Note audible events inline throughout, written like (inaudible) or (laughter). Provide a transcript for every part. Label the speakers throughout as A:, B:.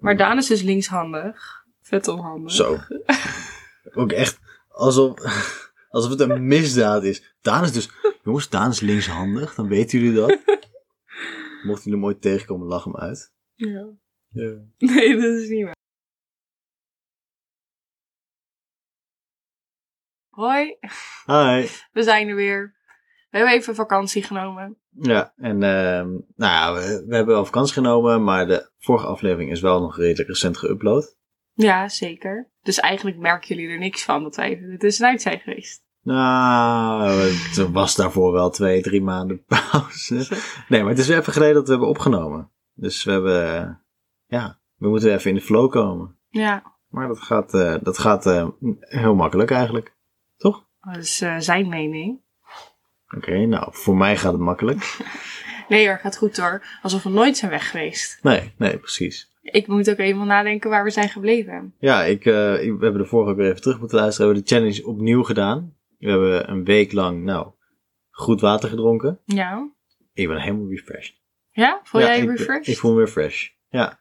A: Maar Daan is dus linkshandig. Vet onhandig.
B: Zo. Ook echt alsof, alsof het een misdaad is. Daan is dus, jongens, Daan is linkshandig, dan weten jullie dat. Mocht jullie hem ooit tegenkomen, lach hem uit.
A: Ja. (laughs)
B: Ja.
A: Nee, dat is niet waar. Hoi,
B: Hi.
A: we zijn er weer. We hebben even vakantie genomen.
B: Ja, en ehm, nou ja, we, we hebben wel vakantie genomen, maar de vorige aflevering is wel nog redelijk recent geüpload.
A: Ja, zeker. Dus eigenlijk merken jullie er niks van dat wij even de tussenuit zijn geweest.
B: Nou, het was daarvoor wel twee, drie maanden (laughs) pauze. Nee, maar het is weer even geleden dat we hebben opgenomen. Dus we hebben, eh, ja, we moeten weer even in de flow komen.
A: Ja,
B: Maar dat gaat, eh, dat gaat eh, heel makkelijk eigenlijk. Toch?
A: dat is eh, zijn mening.
B: Oké, nou, voor mij gaat het makkelijk.
A: Nee hoor, gaat goed hoor. Alsof we nooit zijn weg geweest.
B: Nee, nee, precies.
A: Ik moet ook even nadenken waar we zijn gebleven.
B: Ja, ik, eh, ik- we hebben de vorige keer even terug moeten luisteren. We hebben de challenge opnieuw gedaan. We hebben een week lang, nou, goed water gedronken.
A: Ja?
B: Ik ben helemaal refreshed.
A: Ja? Voel
B: Ja,
A: jij je
B: ik ben-
A: refreshed?
B: Ik voel me fresh. Ja.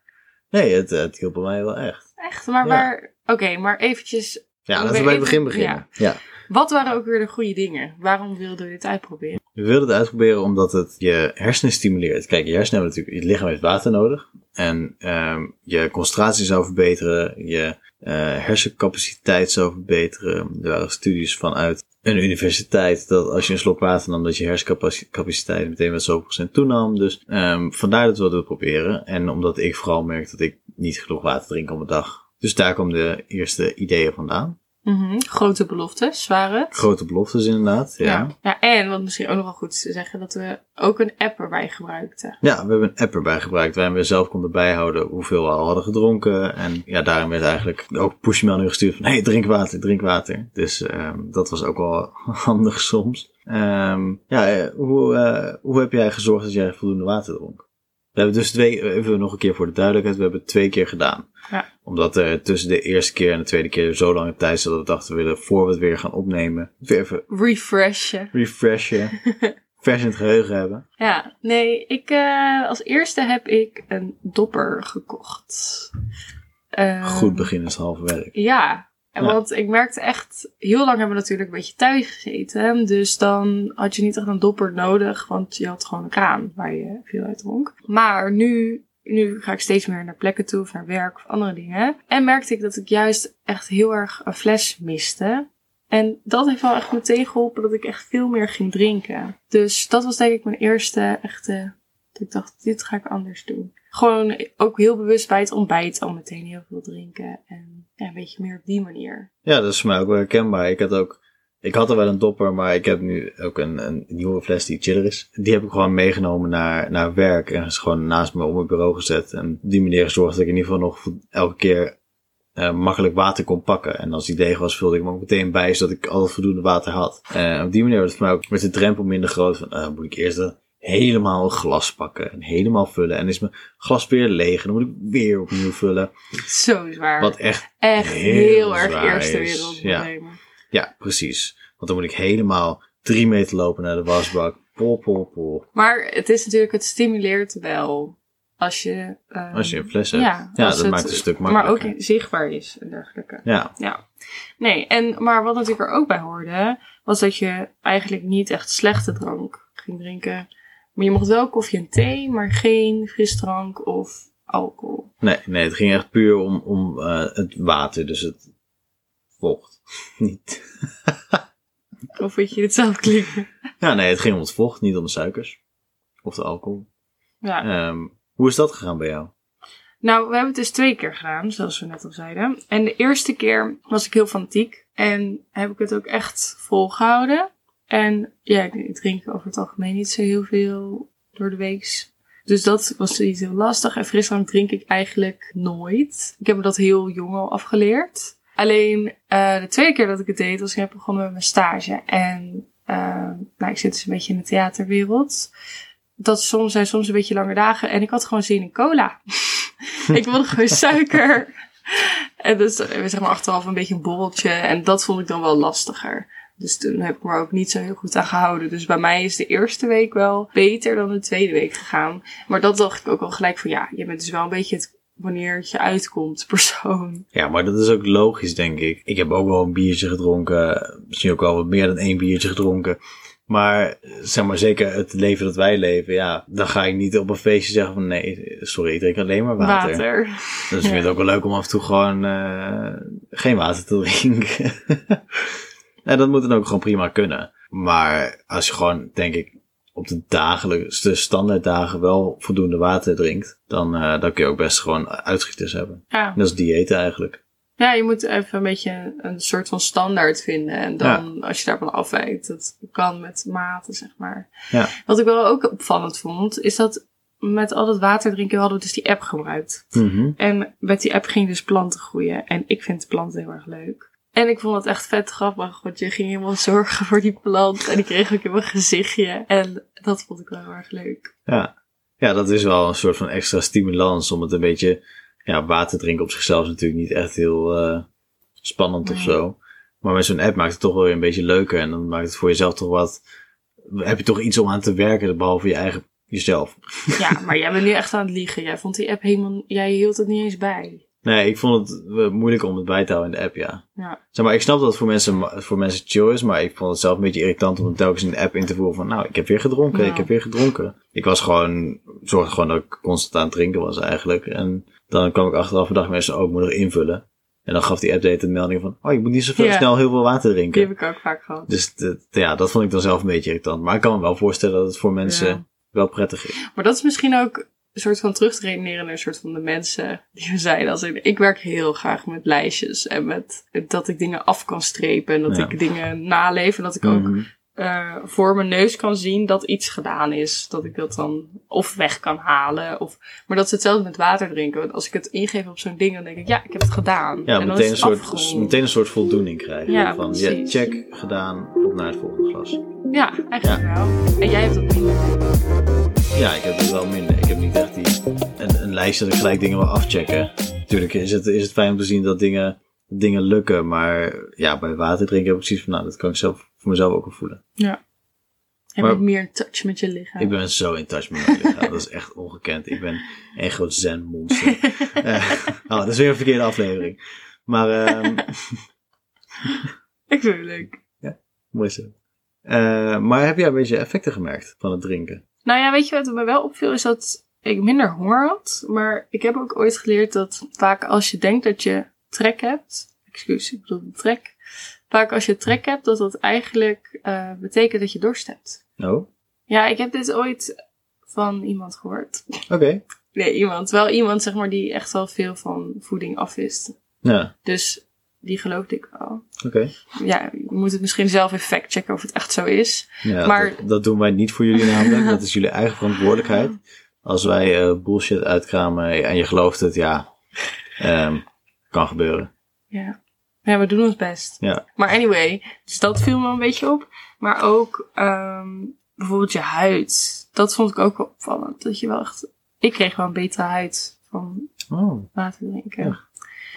B: Nee, het, het hielp bij mij wel echt.
A: Echt? Maar
B: Ja.
A: waar... Oké, maar eventjes...
B: Ja,
A: Ik
B: laten
A: ben
B: we bij het
A: even-
B: begin beginnen. ja.
A: Wat waren ook weer de goede dingen? Waarom wilden we dit uitproberen?
B: We wilden het uitproberen omdat het je hersenen stimuleert. Kijk, je hersenen hebben natuurlijk, je lichaam heeft water nodig. En ehm, je concentratie zou verbeteren, je eh, hersencapaciteit zou verbeteren. Er waren studies vanuit een universiteit dat als je een slok water nam, dat je hersencapaciteit meteen met zoveel procent toenam. Dus ehm, vandaar dat we dat wilden proberen. En omdat ik vooral merk dat ik niet genoeg water drink op een dag. Dus daar komen de eerste ideeën vandaan.
A: Mhm, Grote beloftes waren het.
B: Grote beloftes inderdaad, ja.
A: ja. En wat misschien ook nog wel goed is te zeggen, dat we ook een app erbij gebruikten.
B: Ja, we hebben een app erbij gebruikt waarin we zelf konden bijhouden hoeveel we al hadden gedronken. En ja, daarin werd eigenlijk ook pushmail nu gestuurd van, hey, drink water, drink water. Dus ehm, dat was ook wel (laughs) handig soms. Ehm, ja, eh, hoe, eh, hoe heb jij gezorgd dat jij voldoende water dronk? We hebben dus twee, even nog een keer voor de duidelijkheid, we hebben het twee keer gedaan.
A: Ja.
B: Omdat er tussen de eerste keer en de tweede keer zo lange tijd zat dat we dachten, we willen voor we het weer gaan opnemen, weer even
A: Refreshen.
B: refreshen, vers in het geheugen hebben.
A: Ja, nee, ik, eh, als eerste heb ik een dopper gekocht. Ehm,
B: Goed beginnen is het halve werk.
A: Ja, en
B: Ja.
A: want ik merkte echt, heel lang hebben we natuurlijk een beetje thuis gezeten. Dus dan had je niet echt een dopper nodig, want je had gewoon een kraan waar je veel uit dronk. Maar nu, nu ga ik steeds meer naar plekken toe of naar werk of andere dingen. En merkte ik dat ik juist echt heel erg een fles miste. En dat heeft wel echt meteen geholpen dat ik echt veel meer ging drinken. Dus dat was denk ik mijn eerste echte. Dat ik dacht, dit ga ik anders doen. Gewoon ook heel bewust bij het ontbijt al meteen heel veel drinken. En ja, een beetje meer op die manier. (laughs)
B: Ja, dat is voor mij ook wel herkenbaar. Ik had ook, ik had al wel een dopper, maar ik heb nu ook een, een nieuwe fles die chiller is. Die heb ik gewoon meegenomen naar, naar werk en is gewoon naast me op mijn bureau gezet. En op die manier gezorgd dat ik in ieder geval nog voor- elke keer eh, makkelijk water kon pakken. En als die leeg was, vulde ik hem ook meteen bij, zodat ik altijd voldoende water had. En op die manier werd het voor mij ook met de drempel minder groot van, eh, moet ik eerst een- helemaal een glas pakken en helemaal vullen. En is mijn glas weer leeg en dan moet ik weer opnieuw vullen.
A: Zo zwaar.
B: Wat echt
A: echt
B: heel
A: heel, erg
B: zwaar
A: eerste
B: is,
A: wereldproblemen.
B: Ja, precies. Want dan moet ik helemaal drie meter lopen naar de wasbak. Pol, pol, pol.
A: Maar het is natuurlijk, het stimuleert wel als je. ehm,
B: Als je een fles hebt.
A: ja,
B: Ja,
A: als
B: dat
A: het-
B: maakt het een stuk
A: maar
B: makkelijker.
A: ook zichtbaar is en dergelijke.
B: Ja,
A: Ja. Nee, en, maar wat natuurlijk er ook bij hoorde, was dat je eigenlijk niet echt slechte drank ging drinken. Maar je mocht wel koffie en thee, maar geen frisdrank of alcohol.
B: nee, nee, het ging echt puur om, om eh, het water. Dus het vocht. (laughs) niet.
A: Of weet je dit zelf klinken?
B: Ja, nee, het ging om het vocht, niet om de suikers. Of de alcohol.
A: Ja.
B: Ehm, hoe is dat gegaan bij jou?
A: Nou, we hebben het dus twee keer gedaan, zoals we net al zeiden. En de eerste keer was ik heel fanatiek en heb ik het ook echt volgehouden. En ja, ik drink over het algemeen niet zo heel veel door de weeks. Dus dat was iets heel lastig. En frisdrank drink ik eigenlijk nooit. Ik heb me dat heel jong al afgeleerd. Alleen eh, de tweede keer dat ik het deed was ik net begonnen met mijn stage. En eh, nou, ik zit dus een beetje in de theaterwereld. Dat soms zijn soms een beetje lange dagen. En ik had gewoon zin in cola. ik wilde gewoon suiker. En dus eh, zeg maar achteraf een beetje een borreltje. En dat vond ik dan wel lastiger. Dus toen heb ik me er ook niet zo heel goed aan gehouden. Dus bij mij is de eerste week wel beter dan de tweede week gegaan. Maar dat dacht ik ook al gelijk van ja, je bent dus wel een beetje het wanneer het je uitkomt, persoon.
B: Ja, maar dat is ook logisch, denk ik. Ik heb ook wel een biertje gedronken. eh, Misschien ook wel wat meer dan één biertje gedronken. Maar zeg maar zeker het leven dat wij leven, ja, dan ga ik niet op een feestje zeggen van nee, sorry, ik drink alleen maar water. Dus ik vind het ook wel leuk om af en toe gewoon eh, geen water te drinken. (laughs) en dat moet dan ook gewoon prima kunnen. Maar als je gewoon, denk ik, op de dagelijkse de standaard dagen wel voldoende water drinkt, dan, eh, dan kun je ook best gewoon uitschieters hebben.
A: Ja.
B: En dat is diëten eigenlijk.
A: ja, je moet even een beetje een soort van standaard vinden. En dan, als je daarvan afwijkt, dat kan met maten, zeg maar.
B: Ja.
A: Wat ik wel ook opvallend vond, is dat met al dat water drinken hadden we dus die app gebruikt.
B: Mhm.
A: En met die app ging dus planten groeien. En ik vind planten heel erg leuk. En ik vond het echt vet grappig, want je ging helemaal zorgen voor die plant. En die kreeg ook in mijn gezichtje. En dat vond ik wel heel erg leuk.
B: Ja. ja, dat is wel een soort van extra stimulans om het een beetje... Ja, water drinken op zichzelf is natuurlijk niet echt heel eh, spannend of
A: Nee.
B: zo. Maar met zo'n app maakt het toch wel weer een beetje leuker. En dan maakt het voor jezelf toch wat... Heb je toch iets om aan te werken, behalve je eigen jezelf.
A: Ja, maar jij bent nu echt aan het liegen. Jij vond die app helemaal... Jij hield het niet eens bij.
B: Nee, ik vond het eh, moeilijk om het bij te houden in de app, ja.
A: Ja.
B: Zeg maar, ik snap dat het voor mensen, ma- voor mensen chill is, maar ik vond het zelf een beetje irritant om telkens een app in te voeren van, nou, ik heb weer gedronken,
A: Ja.
B: ik heb weer gedronken. Ik was gewoon, zorgde gewoon dat ik constant aan het drinken was eigenlijk. En dan kwam ik achteraf en dacht ik mensen, oh, ik moet nog invullen. En dan gaf die app de hele tijd een melding van, oh, je moet niet zo veel
A: Ja.
B: snel heel veel water
A: Die
B: drinken.
A: heb ik ook vaak gehad.
B: Dus dat- ja, dat vond ik dan zelf een beetje irritant. Maar ik kan me wel voorstellen dat het voor mensen
A: Ja.
B: wel prettig is.
A: Maar dat is misschien ook een soort van terug te redeneren naar een soort van de mensen die we zijn. Als in, ik werk heel graag met lijstjes en met dat ik dingen af kan strepen en dat
B: Ja.
A: ik dingen naleef en dat ik ook
B: Mhm.
A: eh, voor mijn neus kan zien dat iets gedaan is. Dat ik dat dan of weg kan halen. Of, maar dat is hetzelfde met water drinken. Want als ik het ingeef op zo'n ding, dan denk ik, ja, ik heb het gedaan.
B: Ja,
A: en dan
B: meteen een,
A: is het
B: soort,
A: afgerond.
B: meteen een soort voldoening krijgen.
A: Ja,
B: van, ja,
A: precies.
B: check, gedaan, op naar het volgende glas.
A: Ja, eigenlijk wel. En jij hebt dat niet.
B: Ja, ik heb het wel minder. Ik heb niet echt die, een, een lijst dat ik gelijk dingen wil afchecken. Natuurlijk is het, is het fijn om te zien dat dingen, dingen lukken. Maar ja, bij water drinken heb ik precies van, nou, dat kan ik zelf voor mezelf ook wel voelen.
A: Ja. Heb
B: Maar-
A: je meer een touch met je lichaam?
B: Ik ben zo in touch met mijn lichaam. Dat is echt ongekend. Ik ben een groot zen-monster. Eh, oh, dat is weer een verkeerde aflevering. Maar, ehm,
A: Ik vind het leuk.
B: mooi zo. Eh, maar heb jij een beetje effecten gemerkt van het drinken?
A: Nou ja, weet je wat me wel opviel is dat ik minder honger had. Maar ik heb ook ooit geleerd dat vaak als je denkt dat je trek hebt. Excuus, ik bedoel trek. Vaak als je trek hebt, dat dat eigenlijk eh, betekent dat je dorst hebt.
B: Oh, oké.
A: Ja, ik heb dit ooit van iemand gehoord. Nee, iemand. Wel iemand, zeg maar, die echt wel veel van voeding af wist.
B: Ja,
A: Dus die geloofde ik wel.
B: Nou, oké.
A: Ja, je moet het misschien zelf even factchecken of het echt zo is.
B: Ja,
A: Maar-
B: dat, dat doen wij niet voor jullie namelijk. dat is jullie eigen verantwoordelijkheid. Als wij eh, bullshit uitkramen en je gelooft het, ja, ehm, kan gebeuren.
A: Ja. ja, we doen ons best.
B: Ja.
A: Maar anyway, dus dat viel me een beetje op. Maar ook ehm, bijvoorbeeld je huid. Dat vond ik ook wel opvallend. Dat je wel echt... Ik kreeg wel een betere huid van
B: Oh.
A: water drinken.
B: Ja.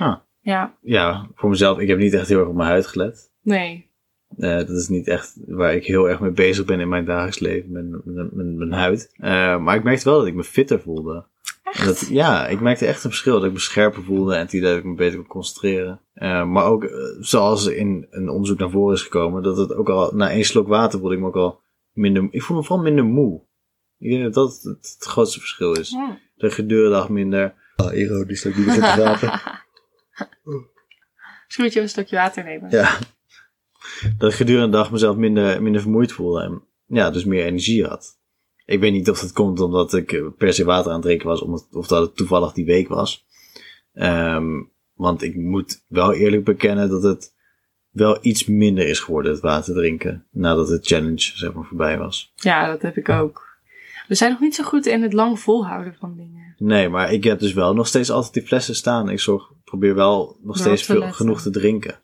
B: Ah.
A: Ja,
B: Ja, voor mezelf, ik heb niet echt heel erg op mijn huid gelet.
A: nee.
B: Eh, dat is niet echt waar ik heel erg mee bezig ben in mijn dagelijks leven, mijn, mijn, mijn, mijn huid. Eh, maar ik merkte wel dat ik me fitter voelde. En Dat, ja, ik merkte echt een verschil. Dat ik me scherper voelde en het idee dat ik me beter kon concentreren. Eh, maar ook, eh, zoals in een onderzoek naar voren is gekomen, dat het ook al na één slok water voelde ik me ook al minder... Ik voel me vooral minder moe. Ik denk dat dat het, het grootste verschil is.
A: Hm.
B: De gedurende dag minder... Ah, erotisch, dat ik niet begin te praten.
A: Misschien moet je even een stukje water nemen.
B: Ja. Dat ik gedurende de dag mezelf minder, minder vermoeid voelde. En ja, dus meer energie had. Ik weet niet of dat komt omdat ik eh, per se water aan het drinken was. om het- Of dat het toevallig die week was. Ehm, want ik moet wel eerlijk bekennen dat het wel iets minder is geworden, het water drinken. Nadat de challenge, zeg maar, voorbij was.
A: Ja, dat heb ik ook. We zijn nog niet zo goed in het lang volhouden van dingen.
B: Nee, maar ik heb dus wel nog steeds altijd die flessen staan. Ik zorg, probeer wel nog steeds
A: te
B: veel,
A: letten.
B: genoeg te drinken.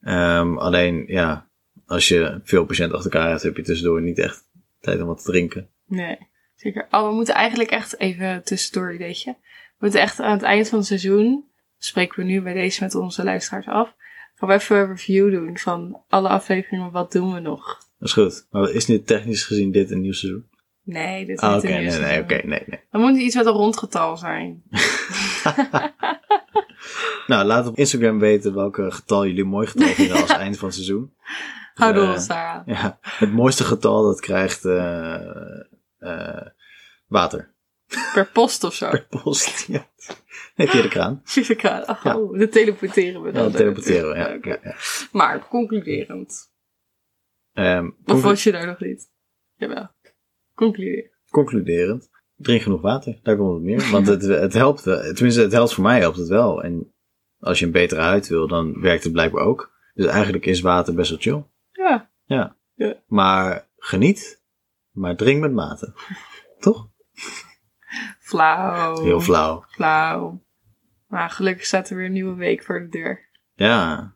B: Ehm, alleen, ja, als je veel patiënten achter elkaar hebt, heb je tussendoor niet echt tijd om wat te drinken.
A: Nee, zeker. Oh, we moeten eigenlijk echt even tussendoor, ideetje. We moeten echt aan het eind van het seizoen, spreken we nu bij deze met onze luisteraars af, gaan we even een review doen van alle afleveringen, wat doen we nog?
B: Dat is goed. Maar is nu technisch gezien dit een nieuw seizoen?
A: Nee, dit
B: Ah,
A: is
B: oké,
A: niet een
B: nee,
A: eerste
B: nee,
A: keer.
B: oké, nee, nee.
A: Dan moet het iets met een rond getal zijn.
B: Nou, laat op Instagram weten welke getal jullie een mooi getal
A: (laughs)
B: vinden als eind van het seizoen.
A: Hou door,
B: Eh,
A: Sarah.
B: Ja, het mooiste getal dat krijgt eh, eh, water.
A: Per post of zo.
B: Per
A: (laughs)
B: post. Ja. (laughs) Nee, via de kraan.
A: Zit ik aan. Oh, dat teleporteren we
B: Ja,
A: dan.
B: dat teleporteren we,
A: (laughs)
B: ja.
A: Oké.
B: ja, ja.
A: Maar concluderend.
B: Ehm,
A: Of
B: conclu-
A: was je daar nog niet? Jawel. Concluderen.
B: concluderend, drink genoeg water. Daar komt het meer. Want het, het helpt, wel. tenminste het helpt voor mij helpt het wel. En als je een betere huid wil, dan werkt het blijkbaar ook. Dus eigenlijk is water best wel chill.
A: Ja.
B: Maar geniet, maar drink met mate. (laughs) Toch?
A: Flauw.
B: Heel flauw.
A: Flauw. Maar gelukkig staat er weer een nieuwe week voor de deur.
B: Ja,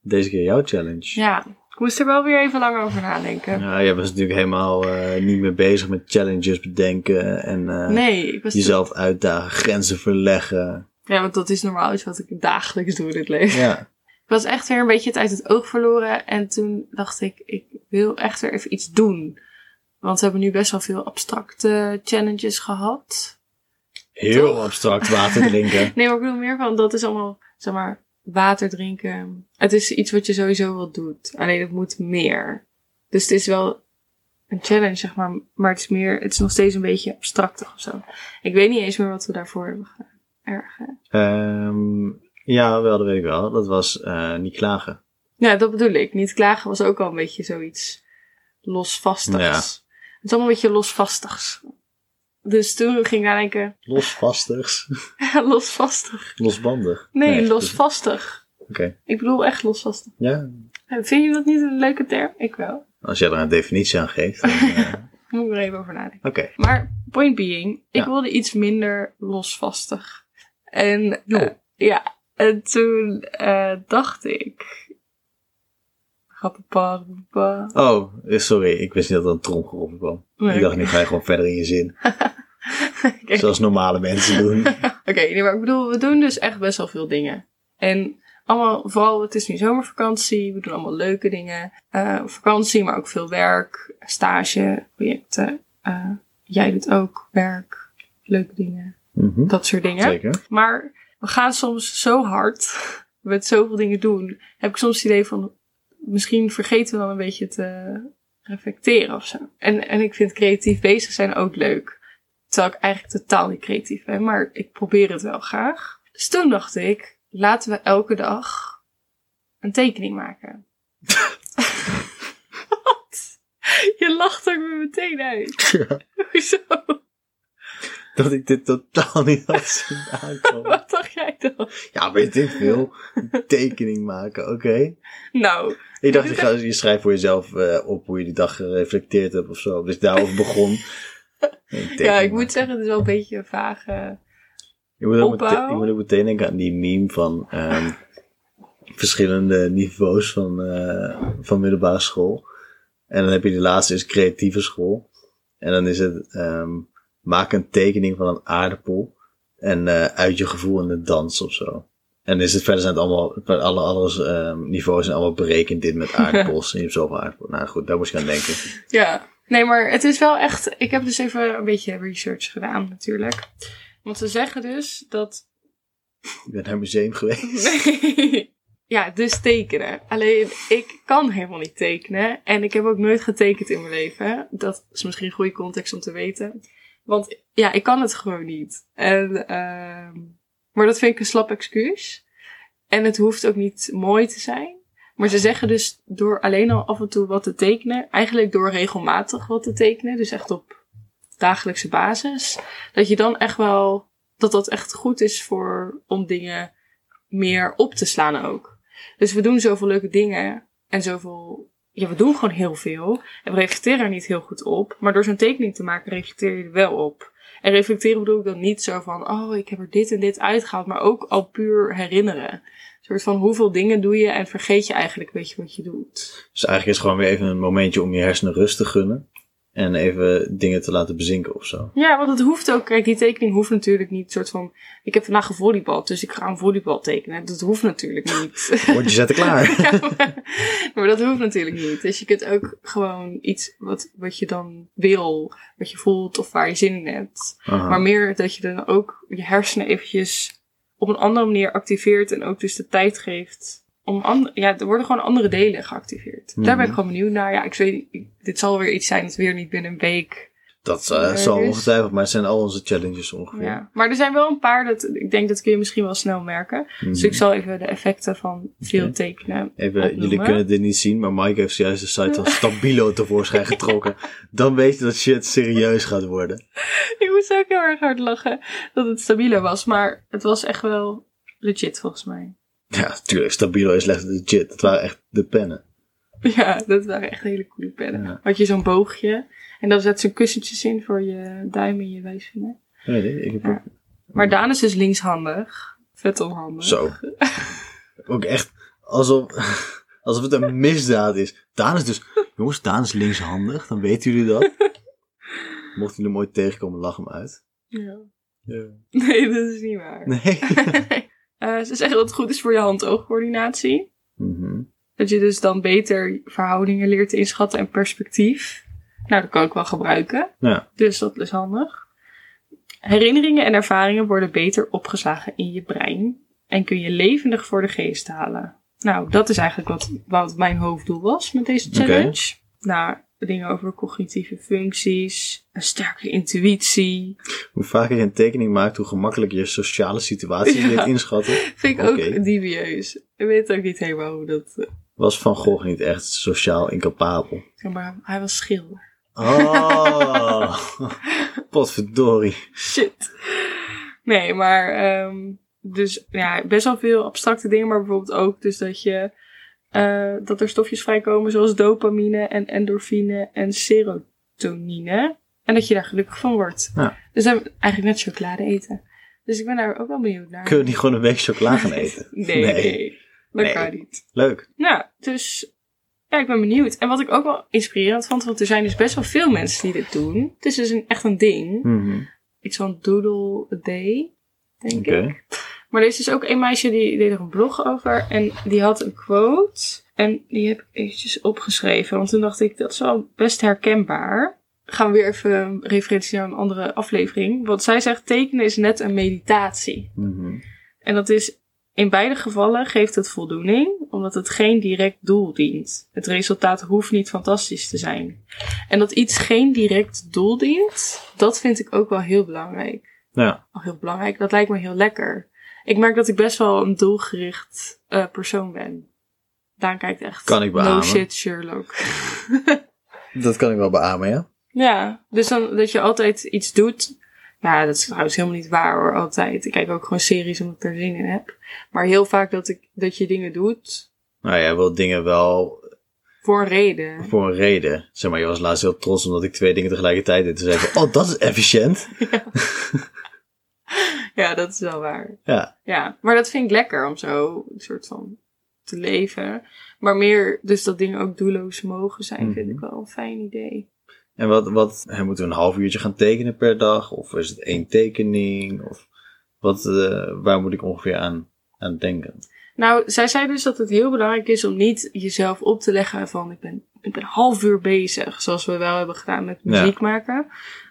B: deze keer jouw challenge.
A: Ja. Ik moest er wel weer even lang over nadenken.
B: Ja, jij was natuurlijk helemaal eh, niet meer bezig met challenges bedenken en eh,
A: Nee, ik was...
B: jezelf uitdagen, grenzen verleggen.
A: Ja, want dat is normaal iets wat ik dagelijks doe in het leven.
B: Ja,
A: Ik was echt weer een beetje het uit het oog verloren. En toen dacht ik, ik wil echt weer even iets doen. Want we hebben nu best wel veel abstracte challenges gehad.
B: heel
A: Toch?
B: abstract water drinken.
A: Nee, maar ik bedoel meer van, dat is allemaal, zeg maar, water drinken. Het is iets wat je sowieso wel doet. Alleen het moet meer. Dus het is wel een challenge, zeg maar. Maar het is meer, het is nog steeds een beetje abstractig of zo. Ik weet niet eens meer wat we daarvoor hebben gedaan. Erg, hè?
B: Ehm, ja, wel, dat weet ik wel. Dat was eh, niet klagen.
A: Ja, dat bedoel ik. Niet klagen was ook al een beetje zoiets losvastigs.
B: Ja.
A: Het is allemaal een beetje losvastigs. Dus toen ging ik nadenken, (laughs)
B: Losvastigs.
A: losvastig.
B: (laughs) Losbandig.
A: Nee,
B: dus-
A: losvastig.
B: Oké.
A: Ik bedoel echt losvastig.
B: Ja,
A: Eh, Vind je dat niet een leuke term? Ik wel.
B: als jij er een definitie aan geeft. dan, (laughs) eh, Oké.
A: Moet ik er even over nadenken. Maar point being, ik
B: Ja.
A: wilde iets minder losvastig. En
B: Joh.
A: eh, ja, en toen eh, dacht ik... Grappapa,
B: Oh, eh, sorry. Ik wist niet dat er een tromgeroffel kwam. Ik
A: (laughs)
B: dacht, nu ga je gewoon verder in je zin. Zoals normale mensen doen.
A: Oké, nee, maar ik bedoel, we doen dus echt best wel veel dingen. En allemaal, vooral, het is nu zomervakantie, we doen allemaal leuke dingen. Eh, vakantie, maar ook veel werk, stage, projecten. Eh, jij doet ook werk, leuke dingen,
B: Mhm,
A: dat soort dingen.
B: Zeker.
A: Maar we gaan soms zo hard (laughs) met zoveel dingen doen. Heb ik soms het idee van, misschien vergeten we dan een beetje te reflecteren of zo. En, en ik vind creatief bezig zijn ook leuk. Terwijl ik eigenlijk totaal niet creatief ben, maar ik probeer het wel graag. Dus toen dacht ik, laten we elke dag een tekening maken. (laughs) Wat? Je lacht er me meteen uit. (laughs)
B: Ja,
A: Hoezo?
B: dat ik dit totaal niet had zien aankomen.
A: Wat dacht jij dan?
B: Ja, weet ik veel. Een (laughs) Tekening maken, oké.
A: Nou,
B: Ik dacht, je, gaat- je schrijft voor jezelf eh, op hoe je die dag gereflecteerd hebt of zo. Dus ik daarover
A: (laughs)
B: begon. Een tekening
A: Ja, ik
B: maken.
A: moet zeggen, het is wel een beetje een vage...
B: Ik moet, ook
A: Opbouw.
B: meteen, ik moet ook meteen denken aan die meme van ehm, verschillende niveaus van, eh, van middelbare school. En dan heb je de laatste is creatieve school. En dan is het ehm, maak een tekening van een aardappel en eh, uit je gevoel in de dans of zo. En is het verder zijn het allemaal, bij alle andere ehm, niveaus zijn allemaal berekend dit met aardappels. en je hebt zoveel aardappels. Nou goed, daar moest ik aan denken.
A: Ja. Nee, maar het is wel echt... Ik heb dus even een beetje research gedaan, natuurlijk. Want ze zeggen dus dat...
B: Ik ben naar een museum geweest.
A: Nee. (laughs) Ja, dus tekenen. Alleen, ik kan helemaal niet tekenen. En ik heb ook nooit getekend in mijn leven. Dat is misschien een goede context om te weten. Want ja, ik kan het gewoon niet. En, ehm, maar dat vind ik een slap excuus. En het hoeft ook niet mooi te zijn. Maar ze zeggen dus door alleen al af en toe wat te tekenen, eigenlijk door regelmatig wat te tekenen, dus echt op dagelijkse basis, dat je dan echt wel, dat dat echt goed is voor, om dingen meer op te slaan ook. Dus we doen zoveel leuke dingen en zoveel, ja, we doen gewoon heel veel en we reflecteren er niet heel goed op, maar door zo'n tekening te maken reflecteer je er wel op. En reflecteren bedoel ik dan niet zo van, oh, ik heb er dit en dit uitgehaald, maar ook al puur herinneren. Een soort van hoeveel dingen doe je en vergeet je eigenlijk een beetje wat je doet.
B: Dus eigenlijk is het gewoon weer even een momentje om je hersenen rust te gunnen. En even dingen te laten bezinken of zo.
A: Ja, want het hoeft ook. Kijk, die tekening hoeft natuurlijk niet. soort van. Ik heb vandaag gevolleybald, dus ik ga een volleybal tekenen. Dat hoeft natuurlijk niet.
B: Word je zetten
A: (laughs)
B: klaar.
A: Ja, maar, maar dat hoeft natuurlijk niet. Dus je kunt ook gewoon iets wat, wat je dan wil, wat je voelt of waar je zin in hebt.
B: Aha.
A: Maar meer dat je dan ook je hersenen eventjes op een andere manier activeert en ook dus de tijd geeft om andere, ja, er worden gewoon andere delen geactiveerd. Daar ben ik
B: Mhm.
A: gewoon benieuwd naar. Ja, ik weet, niet, ik- dit zal weer iets zijn dat weer niet binnen een week.
B: Dat eh,
A: Ja,
B: zal
A: dus-
B: ongetwijfeld, maar het zijn al onze challenges ongeveer.
A: Ja. Maar er zijn wel een paar dat ik denk dat kun je misschien wel snel merken.
B: Mhm.
A: Dus ik zal even de effecten van veel
B: Oké.
A: tekenen.
B: Even,
A: opnoemen.
B: jullie kunnen dit niet zien, maar Mike heeft juist de site van Stabilo tevoorschijn getrokken. Dan weet je dat shit serieus gaat worden.
A: (laughs) Ik moest ook heel erg hard lachen dat het stabieler was. Maar het was echt wel legit volgens mij. (laughs)
B: Ja, tuurlijk, Stabilo is echt legit. Dat waren echt de pennen.
A: Ja, dat waren echt hele coole pennen.
B: Ja.
A: Had je zo'n boogje. En dan zet ze kussentjes in voor je duim en je wijsvinger.
B: Weet ik, ik heb
A: Ja. Maar Daan is dus linkshandig. Vet onhandig.
B: Zo. Ook echt alsof, alsof het een misdaad is. Daan is dus... Jongens, Daan is linkshandig. Dan weten jullie dat. Mochten jullie hem ooit tegenkomen, lach hem uit.
A: Ja. (laughs) Nee, dat is niet waar.
B: Nee.
A: (laughs) Eh, ze zeggen dat het goed is voor je hand-oogcoördinatie.
B: Mhm.
A: Dat je dus dan beter verhoudingen leert te inschatten en perspectief. Nou, dat kan ik wel gebruiken.
B: Ja.
A: Dus dat is handig. Herinneringen en ervaringen worden beter opgeslagen in je brein. En kun je levendig voor de geest halen. Nou, dat is eigenlijk wat, wat mijn hoofddoel was met deze challenge. Nou, dingen over cognitieve functies, een sterke intuïtie.
B: Hoe vaker je een tekening maakt, hoe gemakkelijker je sociale situaties
A: Ja.
B: leert inschatten.
A: Vind ik
B: Oké.
A: ook dubieus. Ik weet ook niet helemaal hoe dat... eh,
B: Was Van Gogh niet echt sociaal incapabel?
A: Zeg maar, hij was schilder.
B: Oh,
A: (laughs)
B: potverdorie.
A: Shit. Nee, maar ehm, dus ja, best wel veel abstracte dingen, maar bijvoorbeeld ook dus dat je eh, dat er stofjes vrijkomen zoals dopamine en endorfine en serotonine. En dat je daar gelukkig van wordt.
B: Ja.
A: Dus dan eigenlijk net chocolade eten. Dus ik ben daar ook wel benieuwd naar.
B: Kunnen we niet gewoon een week chocola gaan eten?
A: Nee, nee. Dat
B: Nee.
A: kan niet.
B: Leuk.
A: Nou, dus ja, ik ben benieuwd. En wat ik ook wel inspirerend vond, want er zijn dus best wel veel mensen die dit doen. Het is dus een, echt een ding
B: Mhm.
A: iets van Doodle a Day, denk
B: Oké.
A: ik. Maar er is dus ook een meisje die deed er een blog over en die had een quote. En die heb ik eventjes opgeschreven, want toen dacht ik, dat is wel best herkenbaar. Gaan we weer even referentie naar een andere aflevering. Want zij zegt, tekenen is net een meditatie.
B: Mhm.
A: En dat is, in beide gevallen geeft het voldoening, omdat het geen direct doel dient. Het resultaat hoeft niet fantastisch te zijn. En dat iets geen direct doel dient, dat vind ik ook wel heel belangrijk
B: Nou Ja,
A: al Oh, heel belangrijk. Dat lijkt me heel lekker. Ik merk dat ik best wel een doelgericht eh, persoon ben. Daan kijkt echt.
B: Kan ik beamen.
A: No shit, Sherlock. (laughs)
B: dat kan ik wel beamen, ja.
A: ja, dus dan dat je altijd iets doet. Nou, dat is trouwens helemaal niet waar hoor, altijd. Ik kijk ook gewoon series omdat ik er zin in heb. Maar heel vaak dat, ik, dat je dingen doet
B: Nou, jij wil dingen wel
A: voor een reden.
B: voor een reden. Zeg maar, je was laatst heel trots omdat ik twee dingen tegelijkertijd deed. Toen zei ik, oh, dat is efficiënt.
A: Ja, dat is wel waar.
B: Ja.
A: Ja, maar dat vind ik lekker om zo een soort van te leven. Maar meer dus dat dingen ook doelloos mogen zijn, vind
B: Mhm.
A: ik wel een fijn idee.
B: En wat, wat hè, moeten we een half uurtje gaan tekenen per dag? Of is het één tekening? Of wat, eh, waar moet ik ongeveer aan, aan denken?
A: Nou, zij zei dus dat het heel belangrijk is om niet jezelf op te leggen van ik ben, ik ben een half uur bezig, zoals we wel hebben gedaan met
B: Ja.
A: muziek maken.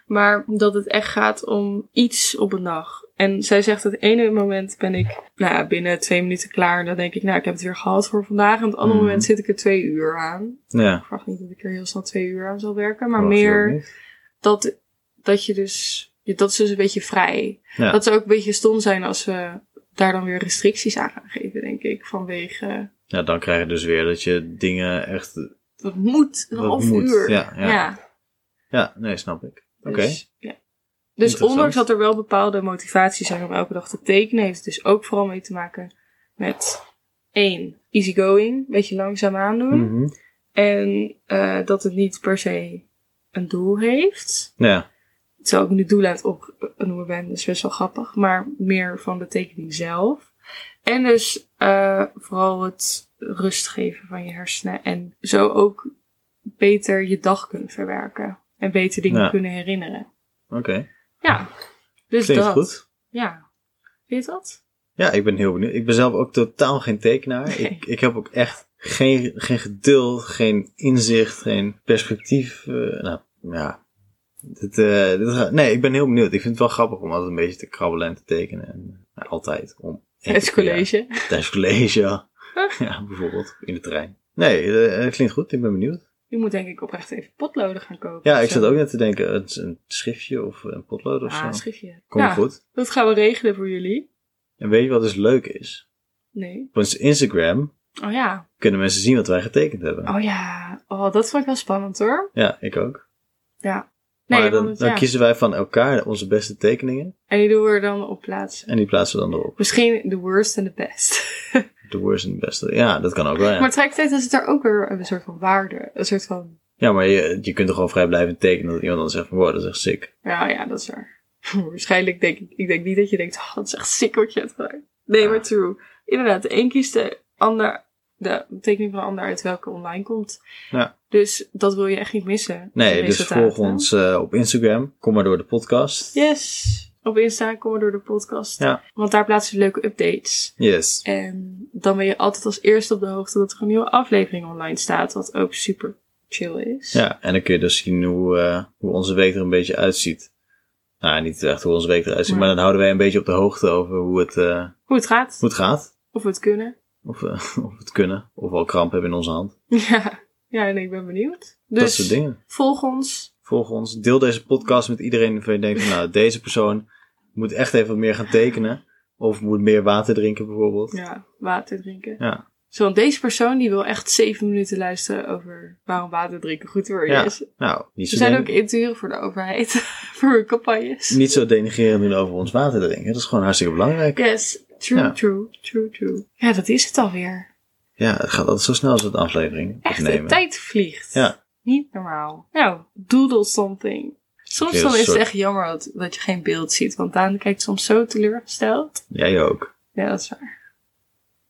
A: Maar dat het echt gaat om iets op een dag. En zij zegt dat ene moment ben ik nou ja, binnen twee minuten klaar. En dan denk ik, nou, ik heb het weer gehad voor vandaag. En op het andere
B: Mhm.
A: moment zit ik er twee uur aan.
B: Nou Ja.
A: Ik vraag niet dat ik er heel snel twee uur aan zal werken. Maar
B: Wacht,
A: meer
B: joh, niet?
A: dat, dat je dus, je- dat is dus een beetje vrij.
B: Ja.
A: Dat zou ook een beetje stom zijn als we daar dan weer restricties aan gaan geven, denk ik. Vanwege, eh,
B: Ja, dan krijg je dus weer dat je dingen echt...
A: dat moet, een
B: Dat
A: half
B: moet,
A: uur.
B: ja, ja.
A: ja
B: Ja, nee, snap ik. Oké.
A: dus, ja. Dus
B: Interessant.
A: ondanks dat er wel bepaalde motivaties zijn om elke dag te tekenen, heeft het dus ook vooral mee te maken met één, easygoing, een beetje langzaam aandoen.
B: Mhm.
A: En eh, dat het niet per se een doel heeft.
B: Nou Ja,
A: Terwijl ik nu doelen aan het opnoemen ben, is best wel grappig. Maar meer van de tekening zelf. En dus eh, vooral het rust geven van je hersenen. En zo ook beter je dag kunnen verwerken. en beter dingen
B: Ja.
A: kunnen herinneren.
B: Oké,
A: Ja, dus
B: klinkt
A: dat.
B: goed.
A: Ja, vind je dat?
B: Ja, ik ben heel benieuwd. Ik ben zelf ook totaal geen tekenaar.
A: Nee.
B: Ik, ik heb ook echt geen, geen geduld, geen inzicht, geen perspectief. eh, nou, ja. Dit, eh, dit gaat- nee, ik ben heel benieuwd. Ik vind het wel grappig om altijd een beetje te krabbelen en te tekenen. En, nou, altijd. Om één
A: Het
B: keer per jaar.
A: college.
B: Tijdens het college, ja. ja, bijvoorbeeld. In de trein. Nee, eh, het klinkt goed. Ik ben benieuwd.
A: Je moet denk ik oprecht even potloden gaan kopen.
B: Ja,
A: of
B: ik
A: zo.
B: zat ook net te denken, het is een schriftje of een potlood of
A: Ah,
B: zo.
A: schrijf je.
B: Komt
A: ja,
B: goed.
A: dat gaan we regelen voor jullie.
B: En weet je wat dus leuk is?
A: Nee.
B: Op ons Instagram
A: Oh ja.
B: kunnen mensen zien wat wij getekend hebben.
A: Oh ja. Oh, dat vond ik wel spannend hoor.
B: Ja, ik ook.
A: Ja.
B: Maar
A: Nee,
B: dan,
A: want,
B: dan
A: ja.
B: kiezen wij van elkaar onze beste tekeningen.
A: En die doen we er dan op plaatsen.
B: En die plaatsen we dan erop.
A: Misschien the worst and the
B: (laughs)
A: best.
B: De worst en de beste. Ja, dat kan ook wel, ja.
A: Maar tegelijkertijd is het daar ook weer een soort van waarde. Een soort van...
B: Ja, maar je, je kunt er gewoon vrij blijven tekenen. Dat iemand dan zegt van, wow, dat is echt sick.
A: Nou ja, dat is waar. (laughs) Waarschijnlijk denk ik... Ik denk niet dat je denkt... Oh, dat is echt sick wat je hebt gedaan. Nee, maar true. Inderdaad, de een kiest de ander... De betekening van de ander uit welke online komt.
B: Ja.
A: Dus dat wil je echt niet missen.
B: Nee,
A: de
B: dus
A: resultaten.
B: volg ons eh, op Instagram. Kom maar door de podcast.
A: Yes. Op Insta komen we door de podcast.
B: Ja.
A: Want daar plaatsen we leuke updates.
B: Yes.
A: En dan ben je altijd als eerste op de hoogte dat er een nieuwe aflevering online staat. Wat ook super chill is.
B: Ja, en dan kun je dus zien hoe, eh, hoe onze week er een beetje uitziet. Nou, niet echt hoe onze week eruit ziet,
A: Nee.
B: maar dan houden wij een beetje op de hoogte over hoe het, eh,
A: Hoe het gaat.
B: hoe het gaat.
A: Of we het kunnen. (laughs)
B: Of, eh, (laughs) of we het kunnen. Of we al kramp hebben in onze hand.
A: Ja. Ja, en ik ben benieuwd. Dus
B: Dat soort dingen.
A: volg ons.
B: Volg ons. Deel deze podcast met iedereen waarvan je denkt van, nou, deze persoon moet echt even wat meer gaan tekenen. Of moet meer water drinken bijvoorbeeld.
A: Ja, water drinken.
B: Ja.
A: Zo, want deze persoon die wil echt zeven minuten luisteren over waarom water drinken goed voor je
B: Ja.
A: is.
B: Nou, niet
A: Ze
B: zo,
A: zijn
B: den-
A: ook inturen voor de overheid. (laughs) voor hun campagnes.
B: niet zo denigrerend doen over ons water drinken. Dat is gewoon hartstikke belangrijk.
A: Yes, true,
B: Ja.
A: true, true, true. Ja, dat is het alweer.
B: Ja, het gaat altijd zo snel als het aflevering
A: Echt, de
B: opnemen.
A: tijd vliegt.
B: Ja.
A: Niet normaal. Nou, doodle something. Soms
B: Heel
A: dan is het
B: soort-
A: echt jammer dat, dat je geen beeld ziet, want Daan kijkt soms zo teleurgesteld.
B: Jij ook.
A: Ja, dat is waar.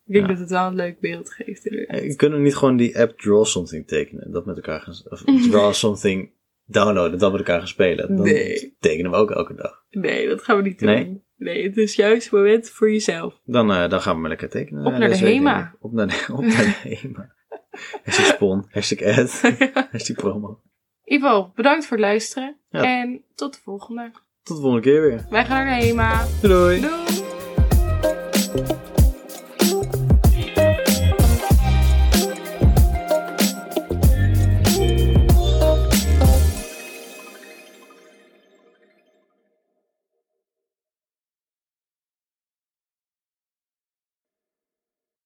A: Ik denk
B: Ja.
A: dat het wel een leuk beeld geeft. inderdaad.
B: Eh, Kunnen we niet gewoon die app Draw Something tekenen? en Dat met elkaar gaan...
A: (laughs)
B: Of Draw Something downloaden, en dat met elkaar gaan spelen. Dan
A: Nee.
B: tekenen we ook elke dag.
A: Nee, dat gaan we niet doen.
B: Nee?
A: Nee, het is juist het moment voor (laughs) jezelf.
B: Dan, eh, dan gaan we maar lekker tekenen.
A: Op
B: eh,
A: naar de
B: deze week,
A: HEMA.
B: denk ik. Op naar de, (laughs) op naar de HEMA. Hashtag spon, hashtag ad, hashtag promo.
A: Ivo, bedankt voor het luisteren.
B: Ja.
A: En tot de volgende.
B: Tot de volgende keer weer.
A: Wij gaan naar de HEMA.
B: Doei doei.
A: Doei!